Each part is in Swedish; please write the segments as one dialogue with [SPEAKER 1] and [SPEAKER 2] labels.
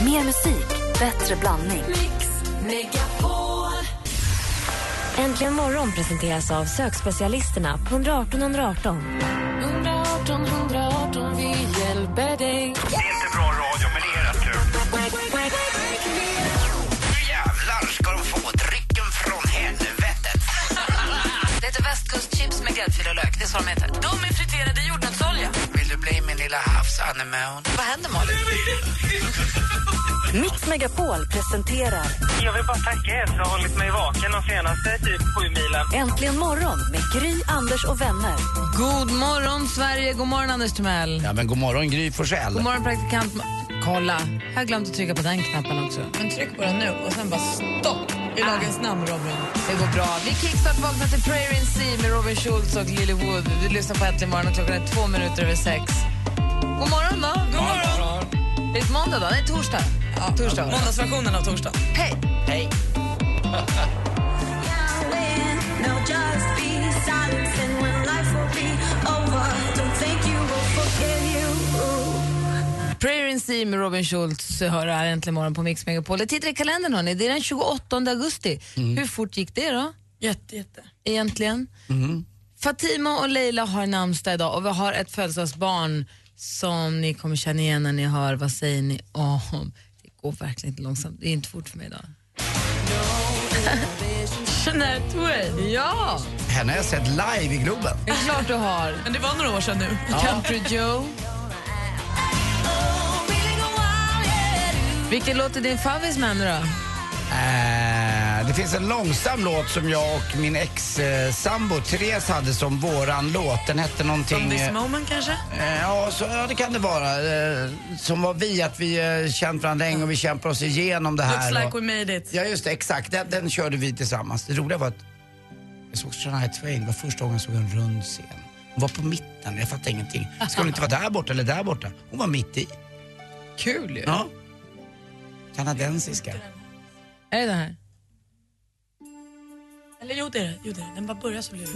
[SPEAKER 1] Mer musik, bättre blandning.
[SPEAKER 2] Mix Megapol.
[SPEAKER 3] Äntligen morgon presenteras av sökspecialisterna på 118 118.
[SPEAKER 2] 118 118, vi hjälper dig.
[SPEAKER 4] Det är inte bra radio, men det är rätt kul. Nu jävlar ska de få drycken från helvetet.
[SPEAKER 5] Det heter västkustchips med gräddfil och lök. Det är så de heter. De är friterade i jordnötsolja.
[SPEAKER 4] Vill du bli min lilla havsanemon?
[SPEAKER 5] Vad händer, Malin?
[SPEAKER 1] Mix Megapol presenterar
[SPEAKER 6] Jag vill bara tacka er för att ha hållit mig vaken de senaste typ sju milen.
[SPEAKER 1] Äntligen morgon med Gry, Anders och vänner.
[SPEAKER 5] God morgon, Sverige. God morgon, Anders Timell.
[SPEAKER 4] Ja, men god morgon, Gry Forssell.
[SPEAKER 5] God morgon, praktikant. Ma- Kolla, jag har glömt att trycka på den knappen också. Men tryck på den nu och sen bara stopp. I lagens namn, Robin. Det går bra. Vi kickstart vaknar till Prayer in Sea med Robin Schultz och Lily Wood. Du lyssnar på Äntligen morgon och klockan är två minuter över sex. God morgon då. God morgon. Det är måndag då? Nej, torsdag. Ja, torsdag.
[SPEAKER 7] Måndagsversionen av torsdag.
[SPEAKER 5] Hej!
[SPEAKER 4] Hej.
[SPEAKER 5] Prayer in Sea med Robin Schultz hör här äntligen morgon på Mix Megapol. Jag tittar i kalendern, hörni. det är den 28 augusti. Hur fort gick det då,
[SPEAKER 7] Jätte, jätte.
[SPEAKER 5] egentligen? Fatima och Leila har namnsdag idag och vi har ett födelsedagsbarn som ni kommer känna igen när ni hör vad säger ni om. Det går verkligen inte långsamt, det är inte fort för mig idag.
[SPEAKER 7] Jeanette Way.
[SPEAKER 5] Ja,
[SPEAKER 4] Henne har jag sett live i Globen.
[SPEAKER 5] det är klart du har.
[SPEAKER 7] Men det var några år sedan nu.
[SPEAKER 5] Country Joe. Vilken låt är din favvis med henne då?
[SPEAKER 4] Eh, det finns en långsam låt som jag och min ex-sambo Therese hade som våran låt. Den hette
[SPEAKER 7] From
[SPEAKER 4] någonting...
[SPEAKER 7] this
[SPEAKER 4] eh,
[SPEAKER 7] moment kanske?
[SPEAKER 4] Eh, Ja, så, ja, det kan det vara. Eh, Som var vi, att vi eh, känt varandra länge och vi kämpar oss igenom det här.
[SPEAKER 7] Looks like
[SPEAKER 4] och-
[SPEAKER 7] we made it.
[SPEAKER 4] Ja, just det. Exakt. Den, den körde vi tillsammans. Det roliga var att jag såg Shania Twain. Det var första gången jag såg en rund scen. Hon var på mitten. Jag fattade ingenting. Skulle inte vara där borta eller där borta. Hon var mitt i.
[SPEAKER 5] Kul ju.
[SPEAKER 4] Ja. Kanadensiska.
[SPEAKER 5] Är det det här?
[SPEAKER 7] Eller jo det är det. Jo, det, är det. Den bara börjar så blir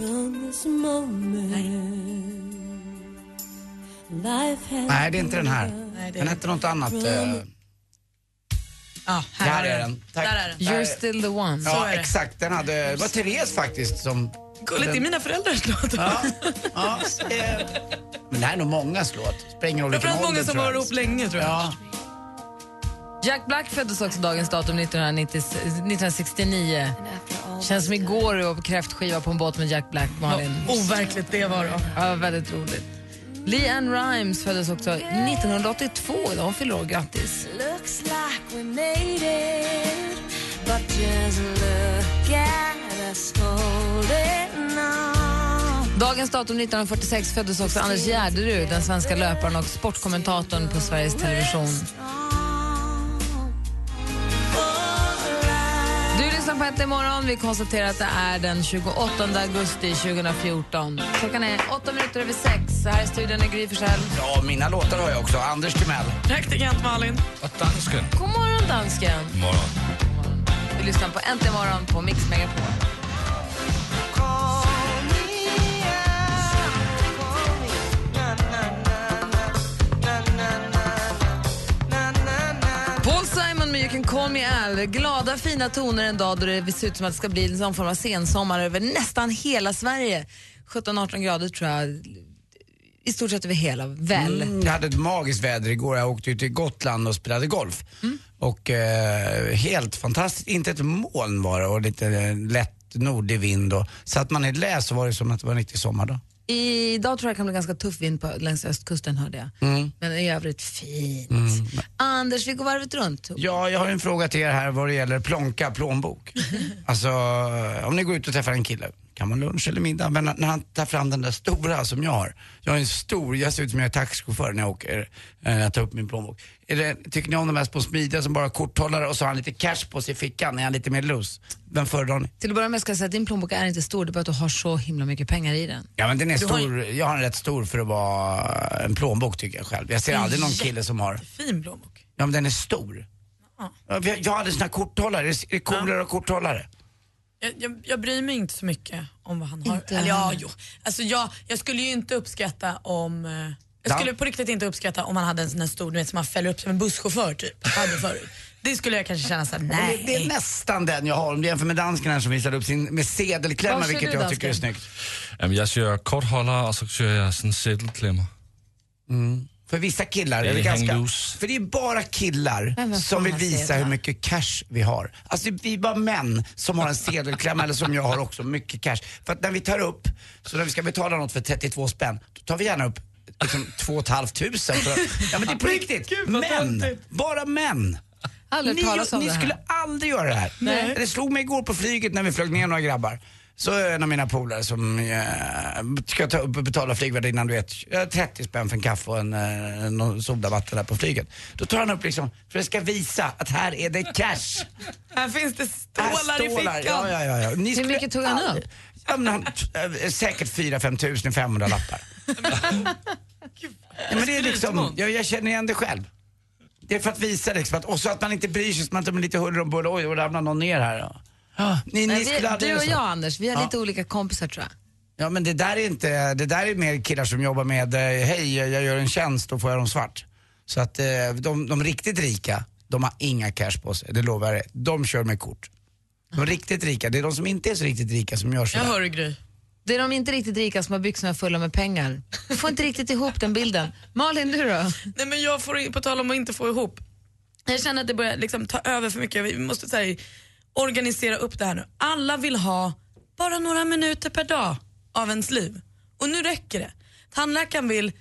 [SPEAKER 7] det.
[SPEAKER 4] Nej, det är inte den här.
[SPEAKER 7] Nej, det är
[SPEAKER 4] Den
[SPEAKER 7] det.
[SPEAKER 4] hette något annat. eh,
[SPEAKER 7] Ja, här,
[SPEAKER 4] Där är
[SPEAKER 7] har jag
[SPEAKER 4] den. Tack.
[SPEAKER 7] Där är den.
[SPEAKER 5] You're still the one.
[SPEAKER 7] Så
[SPEAKER 4] Ja,
[SPEAKER 7] är det.
[SPEAKER 4] exakt. Den hade... Det var Therese faktiskt som...
[SPEAKER 7] Gulligt, det är mina föräldrars låt.
[SPEAKER 4] Ja, ja. eh, Men det här är nog mångas låt. Spelar ingen roll vilken
[SPEAKER 7] Framförallt många
[SPEAKER 4] ålder,
[SPEAKER 7] som
[SPEAKER 4] tror
[SPEAKER 7] har varit
[SPEAKER 4] jag.
[SPEAKER 7] ihop länge tror jag.
[SPEAKER 4] Ja,
[SPEAKER 5] Jack Black föddes också dagens datum 1990, 1969. Känns som igår och kräftskiva på en båt med Jack Black, Malin.
[SPEAKER 7] Overkligt det var då.
[SPEAKER 5] Ja, väldigt roligt. Lee Ann Rimes föddes också 1982. Idag hon fyller år. Grattis. Dagens datum 1946 föddes också Anders Gärderud, den svenska löparen och sportkommentatorn på Sveriges Television. Du lyssnar på Ett imorgon. Vi konstaterar att det är den 28 augusti 2014. Klockan är åtta minuter över sex. Så här i studion är Gry Forssell.
[SPEAKER 4] ja, mina låtar har jag också. Anders Timell.
[SPEAKER 7] Praktikant Malin.
[SPEAKER 5] God morgon, dansken. God morgon. Du lyssnar på Äntligen morgon på Mix Megapol. Paul Simon med You can call me Al. Glada, fina toner en dag då det ser ut som att det ska bli någon form av sensommar över nästan hela Sverige. 17-18 grader tror jag, i stort sett över hela, väl.
[SPEAKER 4] Mm, jag hade ett magiskt väder igår. Jag åkte ju till Gotland och spelade golf.
[SPEAKER 7] Mm.
[SPEAKER 4] Och eh, helt fantastiskt. Inte ett moln var det och lite eh, lätt nordig vind. Och, så att man i läs så var det som att det var en riktig sommardag.
[SPEAKER 5] Idag tror jag det kan bli ganska tuff vind på, längs östkusten hörde jag. Men i övrigt fint. Anders, vi går varvet runt.
[SPEAKER 4] Ja, jag har en fråga till er här vad det gäller plånka, plånbok. alltså, om ni går ut och träffar en kille, kan man lunch eller middag, men när han tar fram den där stora som jag har. Jag har en stor, jag ser ut som jag är taxichaufför när jag åker, eh, när jag tar upp min plånbok. Är det, tycker ni om de här små smidiga som bara har korthållare och så har han lite cash på sig i fickan, är han lite mer loose? Vem föredrar ni?
[SPEAKER 5] Till att börja med ska jag säga att din plånbok är inte stor, det är bara att du har så himla mycket pengar i den.
[SPEAKER 4] Ja men den är
[SPEAKER 7] har
[SPEAKER 4] stor, jag har en rätt stor för att vara en plånbok tycker jag själv. Jag ser aldrig någon kille som har.
[SPEAKER 7] Fin plånbok.
[SPEAKER 4] Ja men den är stor.
[SPEAKER 7] Ja.
[SPEAKER 4] Ja, Jag, jag hade sån här korthållare, är det coolare att ha korthållare?
[SPEAKER 7] Jag, jag, jag bryr mig inte så mycket om vad han har.
[SPEAKER 5] Inte
[SPEAKER 7] Eller, ja,
[SPEAKER 5] jag.
[SPEAKER 7] jo. Alltså, jag, jag skulle ju inte uppskatta om... eh, Jag skulle på riktigt inte uppskatta om man hade en sån här stor, du vet, som man fäller upp som en busschaufför typ. Hade förut. Det skulle jag kanske känna såhär,
[SPEAKER 4] Det, det är
[SPEAKER 7] nej.
[SPEAKER 4] nästan den jag har om du jämför med dansken här som visade upp sin med
[SPEAKER 7] Vad
[SPEAKER 4] sedelklämma
[SPEAKER 7] kör
[SPEAKER 4] vilket
[SPEAKER 7] du,
[SPEAKER 4] jag tycker är
[SPEAKER 7] dansken?
[SPEAKER 4] snyggt.
[SPEAKER 8] Jamen, jeg søger kortholder, og så søger jeg sådan sættelklemmer.
[SPEAKER 4] För vissa killar
[SPEAKER 8] Det
[SPEAKER 4] är
[SPEAKER 8] är
[SPEAKER 4] det ganska...
[SPEAKER 8] hang loose.
[SPEAKER 4] För det är bara killar
[SPEAKER 3] Men vad
[SPEAKER 4] som vill
[SPEAKER 3] fan
[SPEAKER 4] visa
[SPEAKER 3] sedlar?
[SPEAKER 4] hur mycket cash vi har. Alltså vi är bara män som har en sedelklämma eller som jag har också, mycket cash. För att när vi tar upp, så när vi ska betala något för 32 spänn, då tar vi gärna upp liksom 2 500 för att, Ja men det är på riktigt. Män! Bara män!
[SPEAKER 5] Aldrig
[SPEAKER 4] Ni,
[SPEAKER 5] talas om
[SPEAKER 4] ni
[SPEAKER 5] det här.
[SPEAKER 4] skulle aldrig göra det här.
[SPEAKER 5] Nej.
[SPEAKER 4] Det slog mig igår på flyget när vi flög ner några grabbar. Så eh, en av mina polare som eh, ska ta upp och betala flygvärdinnan, du vet, eh, 30 spänn för en kaffe och en, eh, någon sodavatten där på flyget. Då tar han upp liksom, för det ska visa att här är det cash.
[SPEAKER 7] Här finns det
[SPEAKER 4] Här
[SPEAKER 7] stålar i
[SPEAKER 4] stålar-
[SPEAKER 7] fickan.
[SPEAKER 4] Ja, ja, ja, ja. Ni skulle
[SPEAKER 5] mycket tog han
[SPEAKER 4] aldrig- Ja, men han, eh, säkert 4-5 tusen, 500 lappar. ja, men det är liksom, jag, jag känner igen det själv. Det är för att visa liksom, att, och så att man inte bryr sig, så att man inte blir lite huller om buller, oj, och ramlar någon ner här. Ja. Ja, Ni,
[SPEAKER 5] Nej,
[SPEAKER 4] ni skulle
[SPEAKER 5] vi, du
[SPEAKER 4] aldrig göra
[SPEAKER 5] och
[SPEAKER 4] så.
[SPEAKER 5] jag, Anders, vi har
[SPEAKER 4] Ja.
[SPEAKER 5] lite olika kompisar tror jag.
[SPEAKER 4] Ja men det där är inte, det där är mer killar som jobbar med, eh, hej jag gör en tjänst, då får jag dem svart. Så att eh, de, de riktigt rika, de har inga cash på sig, det lovar jag dig. De kör med kort. De riktigt rika, det är de som inte är så riktigt rika som gör så.
[SPEAKER 7] Jag hör dig, Gry.
[SPEAKER 5] Det är de inte riktigt rika som har byxorna fulla med pengar. Du får inte riktigt ihop den bilden. Malin, du då?
[SPEAKER 7] Nej, men jag får, på tal om att inte få ihop. Jag känner att det börjar liksom ta över för mycket. Vi måste så här, organisera upp det här nu. Alla vill ha bara några minuter per dag av ens liv. Och nu räcker det. Tandläkaren vill,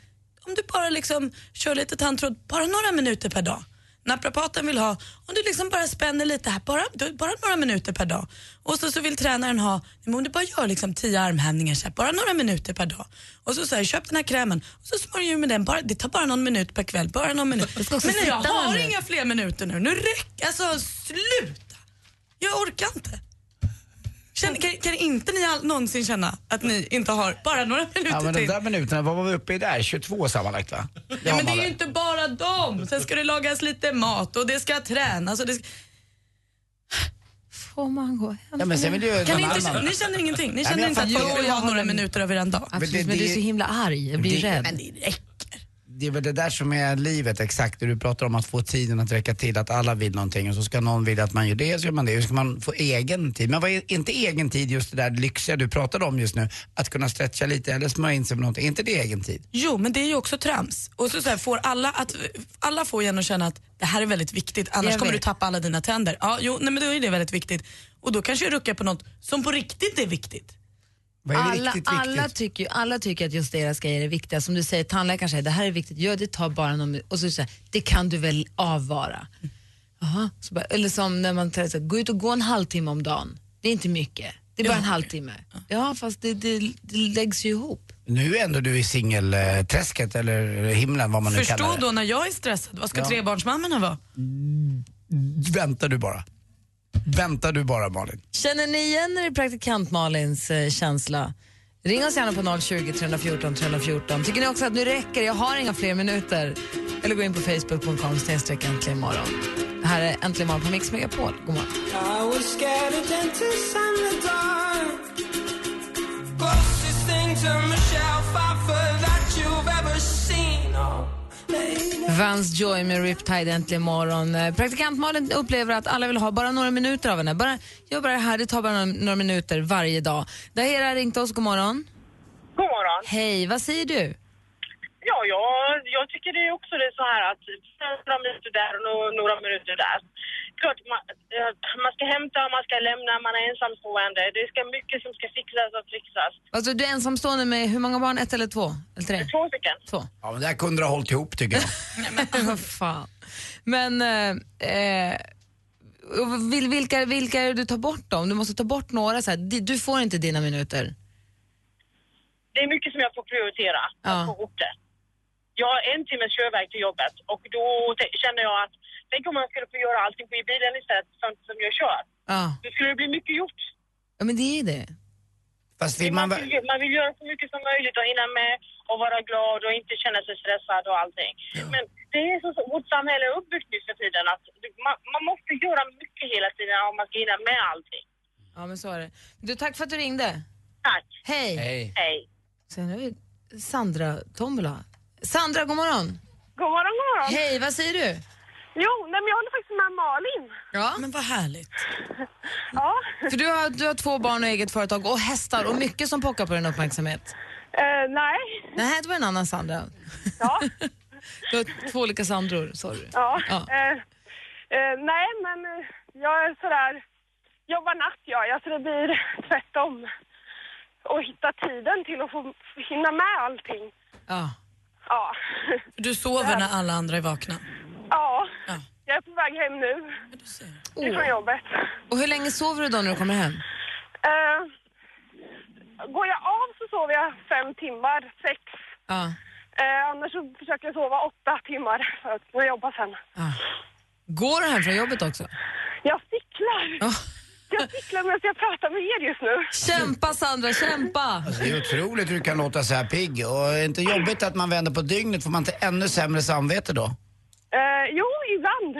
[SPEAKER 7] om du bara liksom kör lite tandtråd, bara några minuter per dag. Naprapaten vill ha, om du liksom bara spänner lite här, bara, du- bara några minuter per dag. Och så, så vill tränaren ha, men om du bara gör liksom tio armhävningar, så här, bara några minuter per dag. Och så säger köp den här krämen och så smörjer du med den, bara, det tar bara någon minut per kväll, bara någon minut.
[SPEAKER 5] ska också
[SPEAKER 7] Men nej, jag
[SPEAKER 5] sitta med
[SPEAKER 7] har
[SPEAKER 5] den.
[SPEAKER 7] inga fler minuter nu, nu räcker, alltså sluta! Jag orkar inte. Känn, kan, kan inte ni all, någonsin känna att ni inte har bara några minuter
[SPEAKER 4] Ja men de
[SPEAKER 7] till?
[SPEAKER 4] där minuterna, vad var vi uppe i där? 22 sammanlagt va?
[SPEAKER 7] Ja, men det är
[SPEAKER 4] man
[SPEAKER 7] ju
[SPEAKER 4] väl.
[SPEAKER 7] inte bara dem. Sen ska det lagas lite mat och det ska tränas. Och det ska...
[SPEAKER 5] Får man gå hem?
[SPEAKER 4] Ja, men sen vill ju
[SPEAKER 7] Kan
[SPEAKER 4] någon
[SPEAKER 7] ni, inte,
[SPEAKER 4] annan.
[SPEAKER 7] känna- ni känner ingenting? Ni
[SPEAKER 4] men
[SPEAKER 7] känner
[SPEAKER 4] jag
[SPEAKER 7] inte att
[SPEAKER 4] fattar.
[SPEAKER 7] folk
[SPEAKER 4] Jo,
[SPEAKER 7] vill
[SPEAKER 4] jag
[SPEAKER 7] ha några minuter över en dag?
[SPEAKER 5] Absolut,
[SPEAKER 4] Men det-
[SPEAKER 5] men du är
[SPEAKER 4] det-
[SPEAKER 5] så himla arg. Jag blir
[SPEAKER 4] det-
[SPEAKER 5] rädd.
[SPEAKER 7] Men det räcker.
[SPEAKER 4] Det är väl det där som är livet exakt, det du pratar om att få tiden att räcka till, att alla vill någonting och så ska någon vilja att man gör det, så gör man det. Hur ska man få egen tid? Men vad är inte egen tid just det där lyxiga du pratade om just nu? Att kunna stretcha lite eller smörja in sig med någonting, är inte det egen tid?
[SPEAKER 7] Jo, men det är ju också trams. Och så, så här, får alla, att, alla får igen att känna att det här är väldigt viktigt, annars
[SPEAKER 5] Jag
[SPEAKER 7] kommer du
[SPEAKER 5] vet.
[SPEAKER 7] tappa alla dina tänder. Ja, jo, nej, men då är det väldigt viktigt. Och då kanske jag ruckar på något som på riktigt är viktigt.
[SPEAKER 4] Vad är
[SPEAKER 5] Alla,
[SPEAKER 4] riktigt viktigt?
[SPEAKER 5] alla, tycker, ju- alla tycker att just deras grejer är viktiga. Som du säger, tandläkaren säger det här är viktigt, gör det, ta bara någon Och så säger jag, det kan du väl avvara. Jaha. Så bara, eller som när man säger så här, gå ut och gå en halvtimme om dagen. Det är inte mycket, det är bara en halvtimme. Ja, fast det, det, det läggs ju ihop.
[SPEAKER 4] Nu är ändå du i singelträsket eller himlen vad man nu kallar
[SPEAKER 7] Förstå
[SPEAKER 4] det.
[SPEAKER 7] då när jag är stressad, vad ska
[SPEAKER 4] Ja.
[SPEAKER 7] trebarnsmammorna vara?
[SPEAKER 4] Vänta du bara. Vänta du bara Malin.
[SPEAKER 5] Känner ni igen er i praktikant Malins eh, känsla? Ring oss gärna på 020 314 314. Tycker ni också att nu räcker det? Jag har inga fler minuter. Eller gå in på facebook.com snedstreck äntligen morgon. Det här är Äntligen morgon på Mix Megapol. God morgon.
[SPEAKER 9] Oh,
[SPEAKER 5] Vans Joy med Riptide äntligen morgon. Eh, Praktikant Malin upplever att alla vill ha bara några minuter av henne. Bara, gör bara det här, det tar bara några, några minuter varje dag. Dahera har ringt oss, god morgon.
[SPEAKER 10] God morgon.
[SPEAKER 5] Hej, vad säger du?
[SPEAKER 10] Ja, jag, jag tycker det är också det så här att några minuter där och no- några minuter där. Klart, man, eh, man ska hämta, man ska lämna, man är ensamstående. Det ska mycket som ska fixas och trixas.
[SPEAKER 5] Alltså, du är ensamstående med hur många barn? Ett eller två? Eller tre?
[SPEAKER 10] Två stycken.
[SPEAKER 5] Två.
[SPEAKER 4] Ja men det här kunde du ha hållit ihop tycker jag.
[SPEAKER 5] Vad fan. Men eh, eh, och vil- vilka, vilka är det du tar bort då? Om Du måste ta bort några. Så här. di- Du får inte dina minuter.
[SPEAKER 10] Det är mycket som jag får prioritera att
[SPEAKER 5] Ja.
[SPEAKER 10] få ihop det. Jag har en timmes körväg till jobbet och då te- känner jag att tänk om man skulle få göra allting i bilen istället, sånt som jag kör.
[SPEAKER 5] Ja.
[SPEAKER 10] Då skulle det bli mycket gjort.
[SPEAKER 5] ja, men det är ju det.
[SPEAKER 4] Fast vill
[SPEAKER 10] Man
[SPEAKER 4] man...
[SPEAKER 10] vill, man vill göra så mycket som möjligt och hinna med och vara glad och inte känna sig stressad och allting. Men det är så, så vårt samhälle är uppbyggt nu för tiden att du- man, man måste göra mycket hela tiden om man ska hinna med allting.
[SPEAKER 5] Ja, men så är det. Du, tack för att du ringde.
[SPEAKER 10] Tack,
[SPEAKER 5] Hej.
[SPEAKER 4] Hej.
[SPEAKER 10] hej.
[SPEAKER 5] Sen har vi Sandra Tombola. Sandra, god morgon.
[SPEAKER 10] God morgon, god morgon.
[SPEAKER 5] Hej, vad säger du?
[SPEAKER 10] Jo, nej, men jag håller faktiskt med Malin.
[SPEAKER 5] Ja.
[SPEAKER 7] Men vad härligt.
[SPEAKER 10] Ja.
[SPEAKER 5] För du har, du har två barn och eget företag och hästar och mycket som pockar på din uppmärksamhet.
[SPEAKER 10] Eh, nej.
[SPEAKER 5] Nej, det var en annan Sandra.
[SPEAKER 10] Ja.
[SPEAKER 5] Du har två olika Sandror, sorry.
[SPEAKER 10] Ja.
[SPEAKER 5] Ja.
[SPEAKER 10] Eh, eh, nej, men eh, jag är sådär... Jobbar natt, jag. Jag så det blir tvärtom. Och hitta tiden till att få hinna med allting.
[SPEAKER 5] Ja.
[SPEAKER 10] Ja.
[SPEAKER 7] Du sover när alla andra är vakna.
[SPEAKER 10] Ja.
[SPEAKER 7] Ja.
[SPEAKER 10] Jag är på väg hem nu
[SPEAKER 7] Du ser.
[SPEAKER 10] ifrån jobbet.
[SPEAKER 5] Och hur länge sover du då när du kommer hem?
[SPEAKER 10] Eh, går jag av så sover jag fem timmar, sex.
[SPEAKER 5] Ja.
[SPEAKER 10] Eh, annars så försöker jag sova åtta timmar för att gå och jobba sen.
[SPEAKER 5] ja. Går du hem från jobbet också?
[SPEAKER 10] Jag cyklar!
[SPEAKER 5] Ja.
[SPEAKER 10] Jag cyklar medan jag pratar med er just nu.
[SPEAKER 5] Kämpa Sandra, kämpa!
[SPEAKER 4] Alltså, det är otroligt hur du kan låta så här pigg. Och är det inte jobbigt att man vänder på dygnet? Får man inte ännu sämre samvete då?
[SPEAKER 10] Eh, jo, ibland.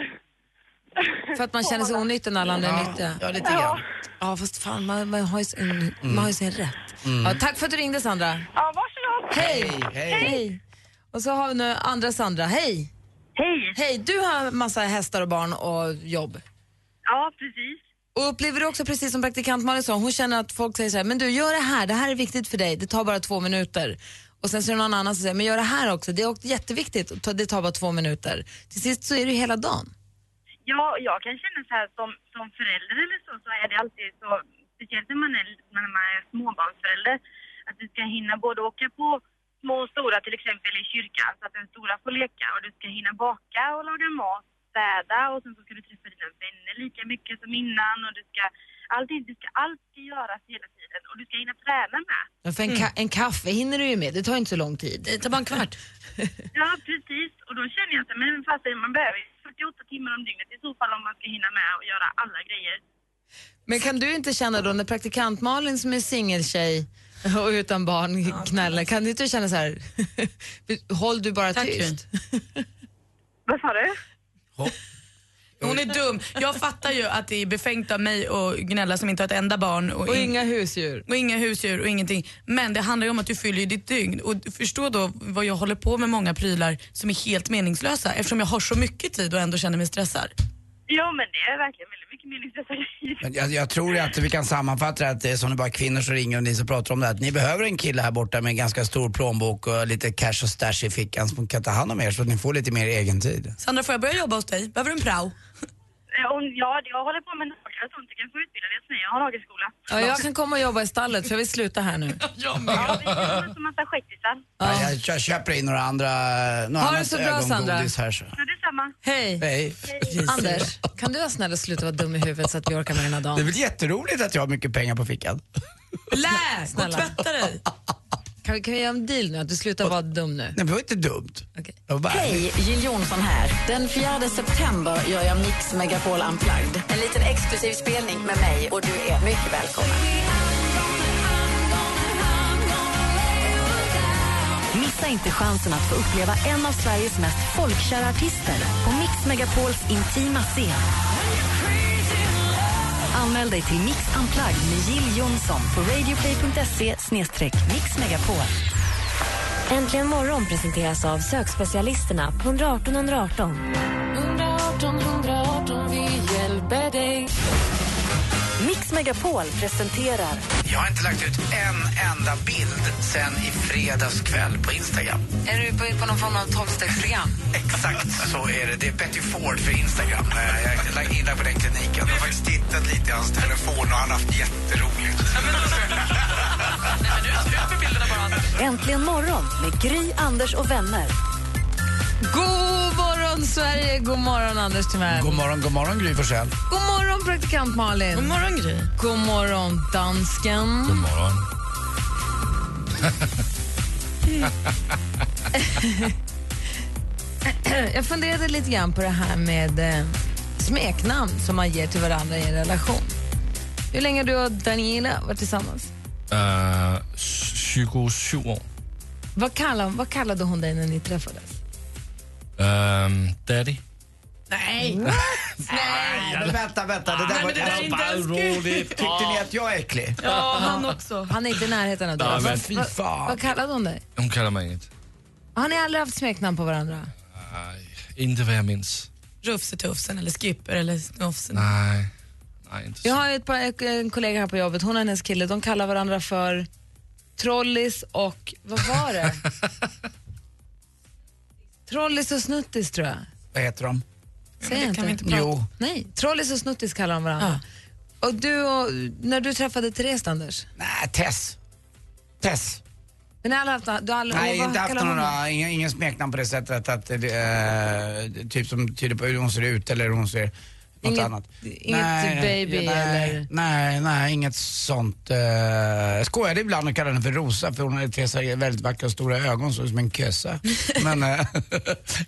[SPEAKER 5] För att man känner sig onyttig när alla andra är nyttiga.
[SPEAKER 4] Ja, lite grann.
[SPEAKER 5] Ja, fast fan, man, man, har, ju sin, man har ju sin
[SPEAKER 4] Mm.
[SPEAKER 5] rätt. Ja, tack för att du ringde Sandra.
[SPEAKER 10] Ja, varsågod.
[SPEAKER 5] Hej!
[SPEAKER 4] Hej!
[SPEAKER 5] Hej! Och så har vi nu andra Sandra. Hej!
[SPEAKER 10] Hej.
[SPEAKER 5] Hej, du har massa hästar och barn och jobb.
[SPEAKER 10] Ja, precis.
[SPEAKER 5] Och upplever du också precis som praktikant Malin sa, hon känner att folk säger så här, men du gör det här, det här är viktigt för dig, det tar bara två minuter. Och sen så är det någon annan som säger, men gör det här också, det är också jätteviktigt, och ta- det tar bara två minuter. Till sist så är det ju hela dagen.
[SPEAKER 10] Ja, jag kan känna så här som, som förälder eller så, så är det alltid så, speciellt när man är, när man är småbarnsförälder, att du ska hinna både åka på små och stora, till exempel i kyrkan, så att den stora får leka och du ska hinna baka och laga mat, städa och sen så ska du träffa dina vänner lika mycket som innan och du ska, allting, du ska, allt ska göras hela tiden och du ska hinna träna med.
[SPEAKER 5] Ja, för en, ka- en kaffe hinner du ju med, det tar ju inte så lång tid.
[SPEAKER 7] Det tar bara en kvart.
[SPEAKER 10] Ja, precis. Och då känner jag att men fast man behöver ju 48 timmar om dygnet i så fall om man ska hinna med och göra alla grejer.
[SPEAKER 5] Men kan du inte känna då när praktikant Malin som är singeltjej och utan barn knäller, kan du inte känna så här, håll du bara
[SPEAKER 7] Tack,
[SPEAKER 5] tyst?
[SPEAKER 10] Vad sa du?
[SPEAKER 7] Hon är dum. Jag fattar ju att det är befängt av mig att gnälla som inte har ett enda barn och,
[SPEAKER 5] Och
[SPEAKER 7] in-
[SPEAKER 5] inga husdjur.
[SPEAKER 7] och inga husdjur och ingenting. Men det handlar ju om att du fyller ju ditt dygn. Och du förstår då vad jag håller på med många prylar som är helt meningslösa eftersom jag har så mycket tid och ändå känner mig stressad.
[SPEAKER 10] Ja, men det är verkligen väldigt mycket meningslösa grejer.
[SPEAKER 4] Men jag, jag tror att vi kan sammanfatta det att det är som det bara är kvinnor som ringer och ni som pratar om det här, att ni behöver en kille här borta med en ganska stor plånbok och lite cash och stash i fickan som kan ta hand om er så att ni får lite mer egen tid.
[SPEAKER 7] Sandra, får jag börja jobba hos dig? Behöver du en prao?
[SPEAKER 10] Eh, Om, ja, jag håller på med naglar och sånt. Du kan få utbilda dig hos mig. Jag har nagelskola.
[SPEAKER 5] Ja, jag kan komma och jobba i stallet för jag vill sluta här nu.
[SPEAKER 7] Jag
[SPEAKER 10] Ja, vi kan som massa skäckisar.
[SPEAKER 4] Ja. Jag, jag köper in några andra, några
[SPEAKER 5] Ha det
[SPEAKER 4] annat
[SPEAKER 5] så bra,
[SPEAKER 4] ögongodis här så.
[SPEAKER 10] Ja, detsamma.
[SPEAKER 5] Hej!
[SPEAKER 4] Nej.
[SPEAKER 5] Anders, kan du vara snäll och sluta vara dum i huvudet så att vi orkar med den här
[SPEAKER 4] Det är
[SPEAKER 5] dagen?
[SPEAKER 4] väl jätteroligt att jag har mycket pengar på fickan?
[SPEAKER 7] Lä! Gå och
[SPEAKER 5] Snälla.
[SPEAKER 7] tvätta dig.
[SPEAKER 5] Kan vi, kan vi göra en deal nu, att du slutar vara dum nu?
[SPEAKER 4] Nej, det var inte dumt.
[SPEAKER 5] Okej.
[SPEAKER 4] Jag var bara,
[SPEAKER 1] Hej, Jill Johnson här. Den 4 september gör jag Mix Megapol Unplugged. En liten exklusiv spelning med mig och du är mycket välkommen. Missa inte chansen att få uppleva en av Sveriges mest folkkära artister på Mix Megapols intima scen. Anmäl dig till Mix Unplugged med Jill Johnson på radioplay.se mixmegapol.
[SPEAKER 3] Äntligen morgon presenteras av sökspecialisterna på 118 118.
[SPEAKER 2] 118 118, vi hjälper dig.
[SPEAKER 1] Mix Megapol presenterar
[SPEAKER 4] jag har inte lagt ut en enda bild sen i fredags kväll på Instagram.
[SPEAKER 5] Är du på, på någon form av tolvstegsprogram?
[SPEAKER 4] Exakt så är det. Det är Betty Ford för Instagram. Eh, Jag lagt in på den kliniken. Jag har faktiskt tittat lite i hans telefon och han har haft jätteroligt.
[SPEAKER 1] Äntligen morgon med Gry, Anders och vänner.
[SPEAKER 5] God morgon Sverige, god morgon Anders Timell.
[SPEAKER 4] God morgon, god morgon Gry Forssell.
[SPEAKER 5] God morgon praktikant
[SPEAKER 7] God
[SPEAKER 5] Malin.
[SPEAKER 7] morgon Gry.
[SPEAKER 5] God morgon dansken.
[SPEAKER 8] God morgon.
[SPEAKER 5] Jag funderade lite grann på det här med eh, smeknamn som man ger till varandra i en relation. Hur länge har du och Daniela varit tillsammans?
[SPEAKER 8] Eh, 27 år.
[SPEAKER 5] Vad kallade, vad kallade hon dig när ni träffades?
[SPEAKER 8] Ehm, daddy.
[SPEAKER 7] Nej.
[SPEAKER 4] Nej, men vänta, vänta. Det
[SPEAKER 7] Nej,
[SPEAKER 4] där var
[SPEAKER 7] men det där är inte ens kul.
[SPEAKER 4] Tyckte ni att jag är äcklig?
[SPEAKER 7] Ja, han också.
[SPEAKER 5] Han är inte i närheten av dig.
[SPEAKER 8] Nej, men
[SPEAKER 5] Vad-
[SPEAKER 8] fy
[SPEAKER 5] vad-
[SPEAKER 4] fan.
[SPEAKER 5] Vad kallade hon dig?
[SPEAKER 8] Hon kallar mig inget.
[SPEAKER 5] Har ni aldrig haft smeknamn på varandra?
[SPEAKER 8] Nej, inte vad jag minns.
[SPEAKER 7] Rufsetufsen eller Skipper eller Snofsen.
[SPEAKER 8] Nej, nej inte
[SPEAKER 5] Jag
[SPEAKER 8] så.
[SPEAKER 5] har ju ett par, en kollega här på jobbet, hon och hennes kille, de kallar varandra för Trollis och, vad var det? trollis och Snuttis tror jag.
[SPEAKER 4] Vad heter de?
[SPEAKER 5] Säg inte.
[SPEAKER 4] Jo.
[SPEAKER 5] Nej, Trollis och Snuttis kallar de varandra. Och du och, när du träffade Therese, Anders?
[SPEAKER 4] Nej, Tess. Tess.
[SPEAKER 5] Men ni har aldrig haft, du har aldrig,
[SPEAKER 4] Nej,
[SPEAKER 5] vad
[SPEAKER 4] inte haft
[SPEAKER 5] kallar hon dem?
[SPEAKER 4] några, ingen, ingen smeknamn på det sättet att det, eh, typ som tyder på hur hon ser ut eller hur hon ser något
[SPEAKER 5] Inget-
[SPEAKER 4] annat.
[SPEAKER 5] inget typ baby
[SPEAKER 4] nej,
[SPEAKER 5] eller-
[SPEAKER 4] Nej, nej, inget sånt. Eh, jag skojade ibland och kallade henne för Rosa för hon hade tre så här väldigt vackra och stora ögon, såg ut som en kösa. Men, eh,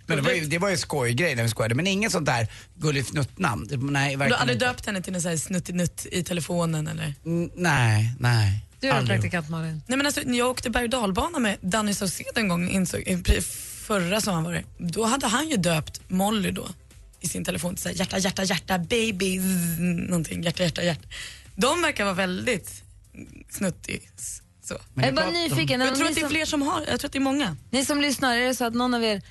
[SPEAKER 4] men det, var ju, det var ju skojgrej när vi skojade, men inget sånt där gulligt fnuttnamn. Det- Nej,
[SPEAKER 7] Du har
[SPEAKER 4] verkligen
[SPEAKER 7] aldrig
[SPEAKER 4] inte.
[SPEAKER 7] döpt henne till någon sån här snuttinutt i telefonen eller?
[SPEAKER 4] Mm, Nej, nej.
[SPEAKER 5] Du är
[SPEAKER 4] aldrig.
[SPEAKER 5] praktikant Malin.
[SPEAKER 7] Nej men alltså när jag åkte berg och dalbana med Danny Saucedo en gång, insåg, eh, pre- förra sommaren var det, då hade han ju döpt Molly då i sin telefon till så här, hjärta, hjärta, hjärta, baby, zzz, någonting, hjärta, hjärta, hjärta. De verkar vara väldigt snuttig. s- Så.
[SPEAKER 4] Men
[SPEAKER 5] Jag är bara
[SPEAKER 4] pratar om-
[SPEAKER 5] nyfiken.
[SPEAKER 7] Jag tror
[SPEAKER 5] ni
[SPEAKER 7] att det är
[SPEAKER 5] som-
[SPEAKER 7] fler som har, jag tror att det är många.
[SPEAKER 5] Ni som lyssnar, är det så att någon av er,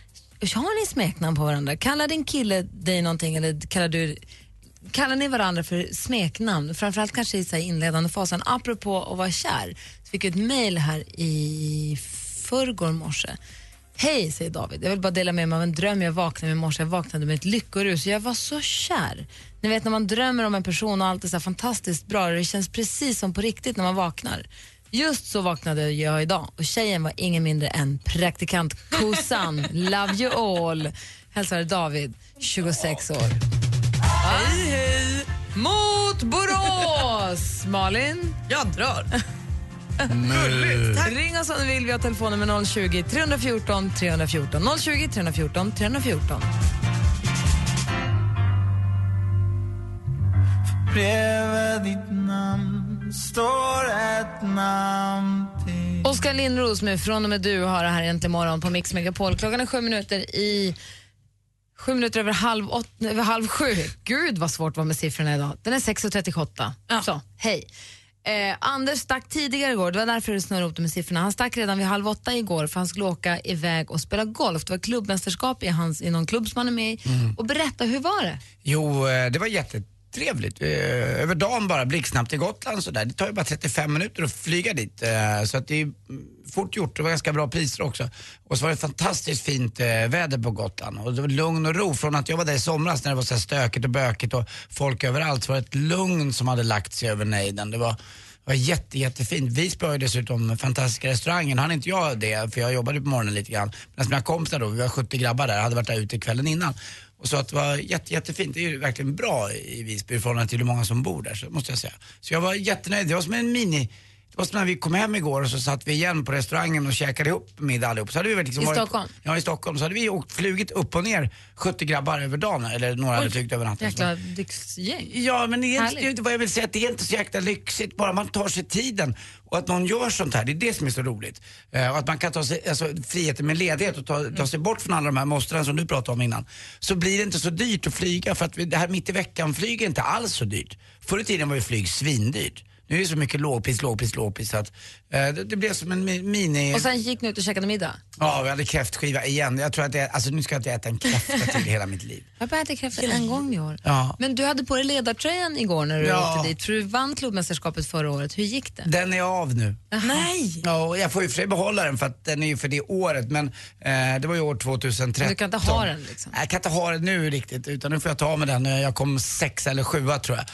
[SPEAKER 5] har ni smeknamn på varandra? Kallar din kille dig någonting eller kallar du, kallar ni varandra för smeknamn? Framförallt kanske i så här inledande fasen. Apropå att vara kär, så fick jag ett mejl här i förrgår morse. Hej, säger David. Jag vill bara dela med mig av en dröm jag vaknade med i morse. Jag vaknade med ett lyckorus och jag var så kär. Ni vet när man drömmer om en person och allt är så här fantastiskt bra och det känns precis som på riktigt när man vaknar. Just så vaknade jag idag och tjejen var ingen mindre än praktikant Kosan. Love you all. Hälsar David, 26 år. Hej, hej! Mot Borås! Malin?
[SPEAKER 7] Jag drar.
[SPEAKER 5] Ring oss om du vill. Vi har telefonen med 020 314 314. 020 314 314. Oskar Lindros med Från och med du har det här äntligen morgon på Mix Megapol. Klockan är sju minuter i sju minuter över halv, åt, nej, över halv sju. Gud vad svårt det var med siffrorna idag. Den är 6.38.
[SPEAKER 7] Ja.
[SPEAKER 5] Så, hej. Eh, Anders stack tidigare igår, det var därför det snurrade upp de med siffrorna. Han stack redan vid halv åtta igår för han skulle åka iväg och spela golf. Det var klubbmästerskap i, hans, i någon klubb som han är med i. Och berätta, hur var det?
[SPEAKER 4] Jo, eh, det var jättetrevligt. Eh, Över dagen bara, blixtsnabbt till Gotland sådär. Det tar ju bara 35 minuter att flyga dit. eh, Så att det är mm, fort gjort. Det var ganska bra priser också. Och så var det fantastiskt fint eh, väder på Gotland. Och det var lugn och ro. Från att jag var där i somras när det var så här stökigt och bökigt och folk överallt så var det ett lugn som hade lagt sig över nejden. Det var det var jätte, jättefint. Visby har ju dessutom fantastiska restauranger. Nu hann inte jag det, för jag jobbade på morgonen lite grann. Medan mina kompisar då, vi var 70 grabbar där, hade varit där ute kvällen innan. Och så att det var jätte, jättefint. Det är ju verkligen bra i Visby i förhållande till hur många som bor där, så, måste jag säga. Så jag var jättenöjd. Det var som en mini... Det var som när vi kom hem igår och så satt vi igen på restaurangen och käkade ihop middag allihop. Så hade vi väl liksom
[SPEAKER 5] I
[SPEAKER 4] varit,
[SPEAKER 5] Stockholm?
[SPEAKER 4] Ja, i Stockholm. Så hade vi åkt, flugit upp och ner 70 grabbar över dagen, eller några hade Mm. flygt över natten.
[SPEAKER 5] Jäkla lyxgäng.
[SPEAKER 4] Ja, men det är inte,
[SPEAKER 5] Härligt.
[SPEAKER 4] det är inte vad jag vill säga, att det är inte så jäkla lyxigt, bara man tar sig tiden och att någon gör sånt här, det är det som är så roligt. Eh, och att man kan ta sig, alltså friheten med ledighet och ta,
[SPEAKER 5] Mm.
[SPEAKER 4] ta sig bort från alla de här måsten som du pratade om innan. Så blir det inte så dyrt att flyga för att vi, det här mitt i veckan-flyg är inte alls så dyrt. Förr i tiden var ju flyg svindyrt. Nu är det så mycket lågpris, lågpris, lågpris så att eh, det, det blev som en mi- mini...
[SPEAKER 5] Och sen gick ni ut och käkade middag?
[SPEAKER 4] Ja, vi hade kräftskiva igen. Jag tror att det, alltså nu ska jag inte äta en kräfta till hela mitt liv.
[SPEAKER 5] Jag har bara ätit kräftor en gång i år.
[SPEAKER 4] Ja.
[SPEAKER 5] Men du hade på dig ledartröjan igår när du
[SPEAKER 4] Ja.
[SPEAKER 5] åkte dit, för du vann klubbmästerskapet förra året. Hur gick det?
[SPEAKER 4] Den är av nu.
[SPEAKER 7] Nej!
[SPEAKER 4] Ja, och jag får ju för sig behålla den för att den är ju för det året men eh, det var ju år 2013.
[SPEAKER 5] Du kan inte ha den, liksom?
[SPEAKER 4] Nej, Jag kan inte ha den nu riktigt utan nu får jag ta med den. Eh, Jag kom sex eller sjua tror jag.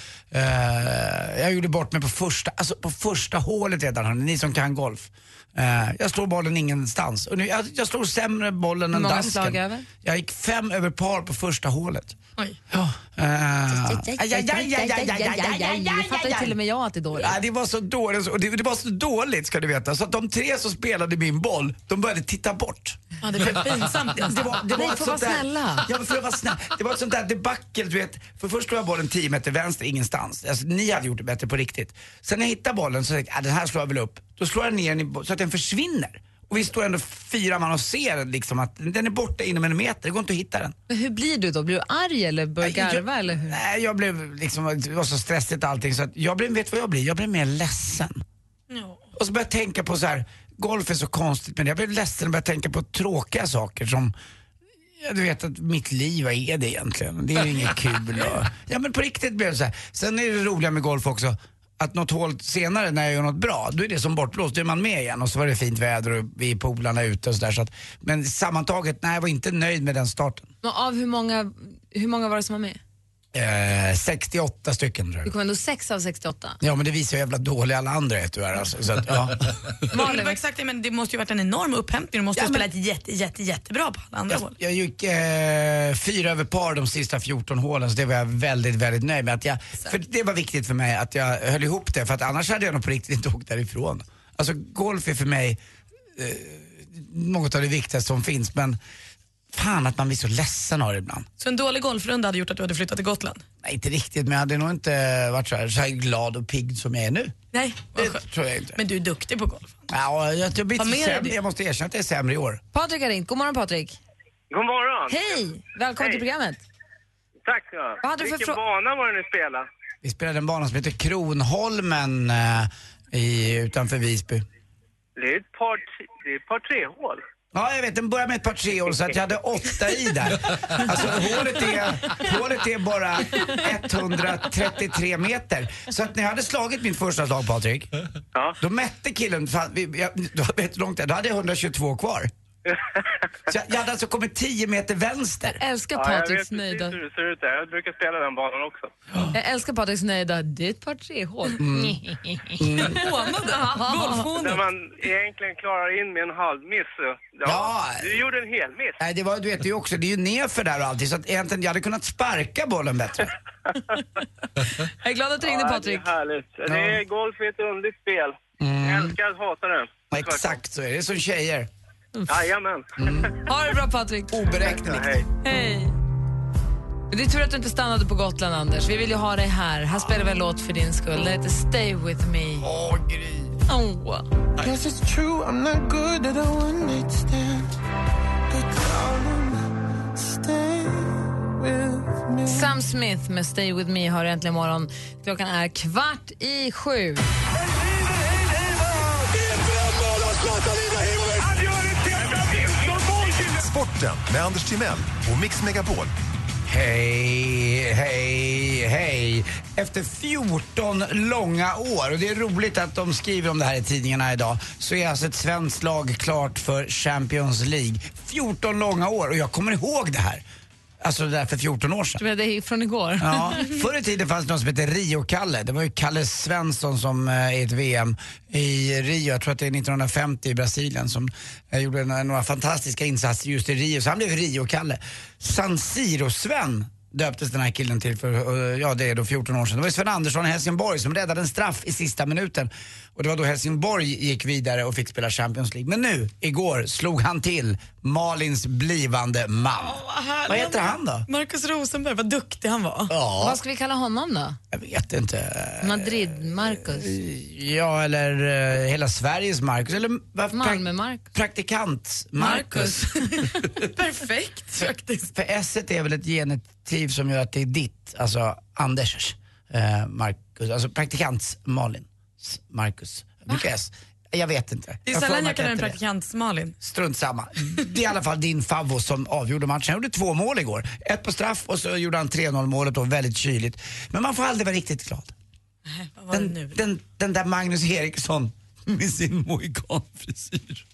[SPEAKER 4] Eh, jag gjorde bort mig på första, alltså på första hålet redan hörni, ni som kan golf. Eh, jag slår bollen ingenstans. Och nu, jag, jag slår sämre bollen än
[SPEAKER 5] många
[SPEAKER 4] dansken.
[SPEAKER 5] slag över?
[SPEAKER 4] Jag gick fem över par på första hålet.
[SPEAKER 7] Oj.
[SPEAKER 4] Ja. Eh, aj, aj, aj, aj, aj, aj, aj, aj, aj.
[SPEAKER 5] Det fattar ju till och med jag att det är dåligt.
[SPEAKER 4] Nej, det var så dåligt, och det, det var så dåligt ska du veta, så att de tre som spelade min boll, de började titta bort.
[SPEAKER 7] Ja, det blev pinsamt
[SPEAKER 4] Det
[SPEAKER 7] nästan.
[SPEAKER 4] var, det
[SPEAKER 5] Nej,
[SPEAKER 4] var ett
[SPEAKER 5] får
[SPEAKER 4] sånt
[SPEAKER 5] vara
[SPEAKER 4] där-
[SPEAKER 5] snälla.
[SPEAKER 4] Ja, men för att vara snäll. Det var ett sånt där debacle, du vet. För först slog jag bollen 10 meter vänster, ingenstans. Alltså, ni hade gjort det bättre på riktigt. Sen när jag hittade bollen så tänkte jag, ah, den här slår jag väl upp. Då slår jag ner den i bo- så att den försvinner. Och vi står ändå fyra man och ser liksom att den är borta inom en meter, det går inte att hitta den.
[SPEAKER 5] Men hur blir du då? Blir du arg eller börjar
[SPEAKER 4] Jag-
[SPEAKER 5] garva? Eller hur?
[SPEAKER 4] Nej, jag blev liksom, det var så stressigt allting så att jag blev, vet du vad jag blir? Jag blev mer ledsen.
[SPEAKER 7] Ja.
[SPEAKER 4] Och så började jag tänka på så här, golf är så konstigt men jag blev ledsen när jag började tänka på tråkiga saker som ja, du vet att mitt liv, vad är det egentligen? Det är ju inget kul. Och, ja men på riktigt blev det så här. Sen är det roliga med golf också att något hål senare när jag gör något bra, då är det som bortblåst. Då är man med igen och så var det fint väder och vi är polarna ute och sådär. Så att- men sammantaget, nej jag var inte nöjd med den starten.
[SPEAKER 5] Men av hur många, hur många var det som var med?
[SPEAKER 4] Eh, 68 stycken tror
[SPEAKER 5] Det
[SPEAKER 4] jag.
[SPEAKER 5] kom ändå 6 av 68.
[SPEAKER 4] Ja men det visar hur jävla dåliga alla andra är tyvärr alltså. Så att, ja.
[SPEAKER 7] Malin, exakt, det, men det måste ju varit en enorm upphämtning. Du måste ju ha spelat jätte, jätte, jättebra på alla andra
[SPEAKER 4] Jag,
[SPEAKER 7] hål.
[SPEAKER 4] Alltså, jag gick eh, fyra över par de sista 14 hålen så det var jag väldigt, väldigt nöjd med. Att jag, för det var viktigt för mig att jag höll ihop det för att annars hade jag nog på riktigt inte åkt därifrån. Alltså golf är för mig eh, något av det viktigaste som finns men fan att man blir så ledsen av det ibland.
[SPEAKER 7] Så en dålig golfrunda hade gjort att du hade flyttat till Gotland?
[SPEAKER 4] Nej inte riktigt men jag hade nog inte varit så här, så här glad och pigg som jag är nu.
[SPEAKER 7] Nej, vad skönt.
[SPEAKER 4] Det tror jag inte.
[SPEAKER 7] Eh, Men du är duktig på golf.
[SPEAKER 4] Ja, jag, jag,
[SPEAKER 5] Ta med
[SPEAKER 4] jag,
[SPEAKER 5] dig
[SPEAKER 4] sämre,
[SPEAKER 5] det.
[SPEAKER 4] jag måste erkänna att jag är sämre i år.
[SPEAKER 5] Patrik har ringt. God morgon Patrik.
[SPEAKER 6] God morgon!
[SPEAKER 5] Hej! Välkommen till programmet.
[SPEAKER 6] Tack så
[SPEAKER 5] Vad hade du för
[SPEAKER 6] Vilken
[SPEAKER 5] frå-
[SPEAKER 6] bana var det ni spelade?
[SPEAKER 4] Vi spelade en bana som heter Kronholmen eh, i, utanför Visby.
[SPEAKER 6] Det är ett par, det är ett par tre hål.
[SPEAKER 4] Ja, jag vet. Den började med ett par tre år så att jag hade åtta i där. Alltså hålet är, hålet är bara 133 meter. Så att när jag hade slagit mitt första slag, Patrik,
[SPEAKER 6] Ja.
[SPEAKER 4] då mätte killen, fan, vi, jag, då, vet du hur långt jag, då hade jag 122 kvar. Så jag, jag hade alltså kommit 10 meter vänster.
[SPEAKER 5] Älskar
[SPEAKER 6] Ja, jag vet
[SPEAKER 5] Patriks
[SPEAKER 6] precis
[SPEAKER 5] nöjda.
[SPEAKER 6] hur det ser ut där. Jag brukar spela den banan också.
[SPEAKER 5] Jag älskar Patriks nöjda. Det är ett par tre Mm. hål.
[SPEAKER 7] Hånade han?
[SPEAKER 6] Där
[SPEAKER 7] Golfhånet?
[SPEAKER 6] man egentligen klarar in med en halvmiss. eh, Ja,
[SPEAKER 4] Ja.
[SPEAKER 6] Du gjorde en hel miss.
[SPEAKER 4] Nej, det var du vet det är ju också, det är ju nerför där och allting så att egentligen, jag hade kunnat sparka bollen bättre.
[SPEAKER 5] Jag är glad att du ringde Patrik. Mm.
[SPEAKER 6] Ja, det är härligt. Det är golf är ett underligt spel. Jag älskar att hata det.
[SPEAKER 4] Ja, Exakt så är det, det är som tjejer.
[SPEAKER 6] Jajamän.
[SPEAKER 5] Ha det bra Patrik.
[SPEAKER 4] Oberäkneligt.
[SPEAKER 6] Hej.
[SPEAKER 5] Hej. Det är tur att du inte stannade på Gotland, Anders. Vi vill ju ha dig här. Här spelar vi en låt för din skull. Den heter Stay with me. Åh, Gry.
[SPEAKER 9] Guess it's true, I'm not good at a one night stand. But darling, stay with me.
[SPEAKER 5] Sam Smith med Stay with me har äntligen morgon. Klockan är kvart i sju.
[SPEAKER 11] Sporten med Anders Timell och Mix Megapol.
[SPEAKER 4] Hej, hej, hej. Efter 14 långa år, och det är roligt att de skriver om det här i tidningarna idag, så är alltså ett svenskt lag klart för Champions League. 14 långa år och jag kommer ihåg det här. Alltså det där för 14 år sedan.
[SPEAKER 5] Du menar, det är från igår?
[SPEAKER 4] Ja, förr i tiden fanns det någon som hette Rio-Kalle. Det var ju Kalle Svensson som eh, i ett VM i Rio, jag tror att det är 1950 i Brasilien, som eh, gjorde några, några fantastiska insatser just i Rio. Så han blev Rio-Kalle. San Siro-Sven döptes den här killen till för, eh, ja det är då 14 år sedan. Det var ju Sven Andersson i Helsingborg som räddade en straff i sista minuten. Och det var då Helsingborg gick vidare och fick spela Champions League. Men nu, igår, slog han till Malins blivande man. Vad heter han då?
[SPEAKER 7] Markus Rosenberg, vad duktig han var.
[SPEAKER 4] Ja.
[SPEAKER 5] Vad ska vi kalla honom då?
[SPEAKER 4] Jag vet inte.
[SPEAKER 5] Madrid-Marcus?
[SPEAKER 4] Ja, eller eh, hela Sveriges Marcus. Eller varför prak-
[SPEAKER 5] Malmö-Marcus?
[SPEAKER 4] praktikant Marcus.
[SPEAKER 7] Perfekt faktiskt.
[SPEAKER 4] För S är väl ett genitiv som gör att det är ditt, alltså Anders eh, Marcus. Alltså praktikants Malin S- Marcus. Mycket S. Jag vet inte.
[SPEAKER 7] Ah. Det är
[SPEAKER 4] har för
[SPEAKER 7] sällan
[SPEAKER 4] mig
[SPEAKER 7] jag
[SPEAKER 4] att
[SPEAKER 7] kallar en
[SPEAKER 4] heter det.
[SPEAKER 7] praktikant Malin.
[SPEAKER 4] Strunt samma. Det är i alla fall din favvo som avgjorde matchen. Han gjorde två mål igår. Ett på straff och så gjorde han 3-0 målet då, väldigt kyligt. Men man får aldrig vara riktigt glad.
[SPEAKER 7] Vad var det
[SPEAKER 4] den,
[SPEAKER 7] nu?
[SPEAKER 4] den, den där Magnus Eriksson med sin mohikanfrisyr.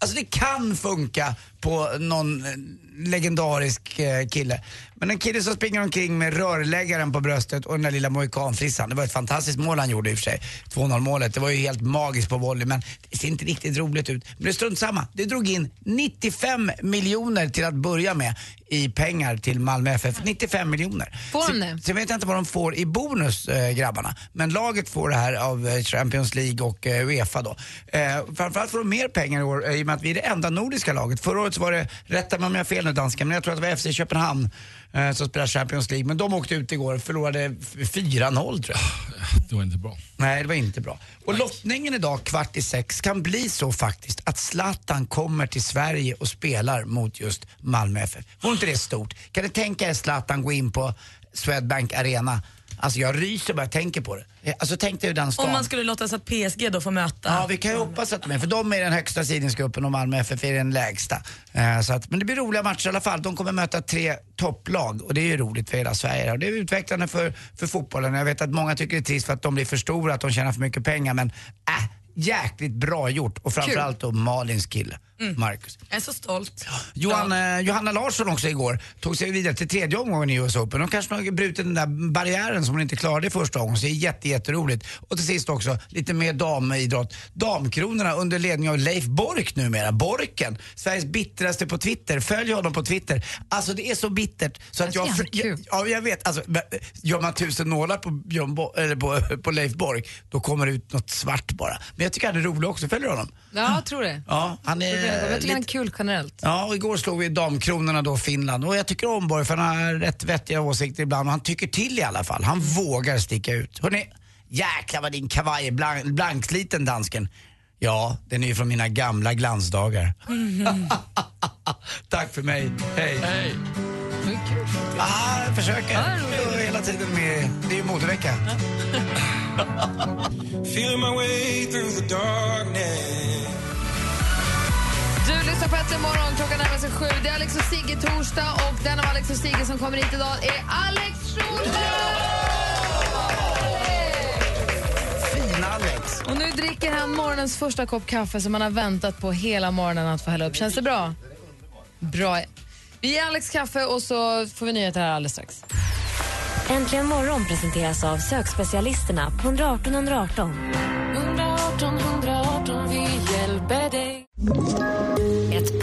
[SPEAKER 4] Alltså det kan funka på någon eh, legendarisk eh, kille. Men en kille som springer omkring med rörläggaren på bröstet och den där lilla mohikanfrissan. Det var ett fantastiskt mål han gjorde i och för sig. 2-0 målet. Det var ju helt magiskt på volley men det ser inte riktigt roligt ut. Men det är strunt samma. Det drog in 95 miljoner till att börja med i pengar till Malmö FF. 95 miljoner.
[SPEAKER 5] Får de
[SPEAKER 4] Sen-
[SPEAKER 7] eh,
[SPEAKER 5] det?
[SPEAKER 4] Sen vet jag inte vad de får i bonus, eh, grabbarna. Men laget får det här av eh, Champions League och eh, Uefa då. Eh, framförallt får de mer pengar i år eh, i och med att vi är det enda nordiska laget. Förra året så var det, rätta mig om jag har fel nu dansken, men jag tror att det var FC Köpenhamn eh, som spelade Champions League. Men de åkte ut igår och förlorade f- 4-0 tror jag.
[SPEAKER 8] Det var inte bra.
[SPEAKER 4] Nej, det var inte bra. Och lottningen idag kvart i sex kan bli så faktiskt att Zlatan kommer till Sverige och spelar mot just Malmö FF. Vore inte det stort? Kan du tänka er Zlatan gå in på Swedbank Arena Alltså jag ryser bara jag tänker på det. Alltså tänk dig hur den
[SPEAKER 7] Om
[SPEAKER 4] stan...
[SPEAKER 7] man skulle låta så att PSG då får möta.
[SPEAKER 4] Ja, vi kan ju hoppas att de är, för de är den högsta sidningsgruppen och Malmö FF är den lägsta. Eh, så att, men det blir roliga matcher i alla fall. De kommer möta tre topplag och det är ju roligt för hela Sverige. Och det är utvecklande för, för fotbollen. Jag vet att många tycker det är trist för att de blir för stora, att de tjänar för mycket pengar. Men äh, jäkligt bra gjort. Och framförallt då Malins kille, Marcus.
[SPEAKER 7] Jag är så stolt.
[SPEAKER 4] Johan, eh, Johanna Larsson också igår tog sig vidare till tredje omgången i US Open. Hon kanske har brutit den där barriären som hon inte klarade i första omgången, så det är jätte, jätteroligt. Och till sist också lite mer damidrott. Damkronorna under ledning av Leif Bork numera, Borken, Sveriges bittraste på Twitter. Följ honom på Twitter. Alltså det är så bittert så att
[SPEAKER 5] Det är
[SPEAKER 4] jag... jag ja, jag vet. Alltså, men, eh, gör man tusen nålar på, Björn Bo, eller på, på Leif Bork, då kommer det ut något svart bara. Men jag tycker han är rolig också. Följer du honom?
[SPEAKER 5] Ja, jag tror det.
[SPEAKER 4] Ja, han
[SPEAKER 5] Jag
[SPEAKER 4] är...
[SPEAKER 5] tycker
[SPEAKER 4] lite-
[SPEAKER 5] han är kul generellt.
[SPEAKER 4] Ja, och igår slog vi damkronorna då Finland och jag tycker om Borg för han har rätt vettiga åsikter ibland och han tycker till i alla fall. Han vågar sticka ut. Hörrni, jäklar vad din kavaj är blank, blanksliten dansken. Ja, den är ju från mina gamla glansdagar. Tack för mig, hej. Hej. Ah, jag försöker. Jag är hela tiden med, det är ju modevecka.
[SPEAKER 9] Feel my way through the darkness.
[SPEAKER 5] Du lyssnar på Äntligen morgon, klockan närmar sig sju. Det är Alex och Sigge torsdag och den av Alex och Sigge som kommer hit idag är Alex Schulman!
[SPEAKER 4] Fin Alex.
[SPEAKER 5] Och nu dricker han morgonens första kopp kaffe som han har väntat på hela morgonen att få hälla upp. Känns det bra? Bra. Vi ger Alex kaffe och så får vi nyheter här alldeles strax.
[SPEAKER 12] Äntligen morgon presenteras av sökspecialisterna på 118 118.
[SPEAKER 13] 118 118, vi hjälper dig.
[SPEAKER 1] Ett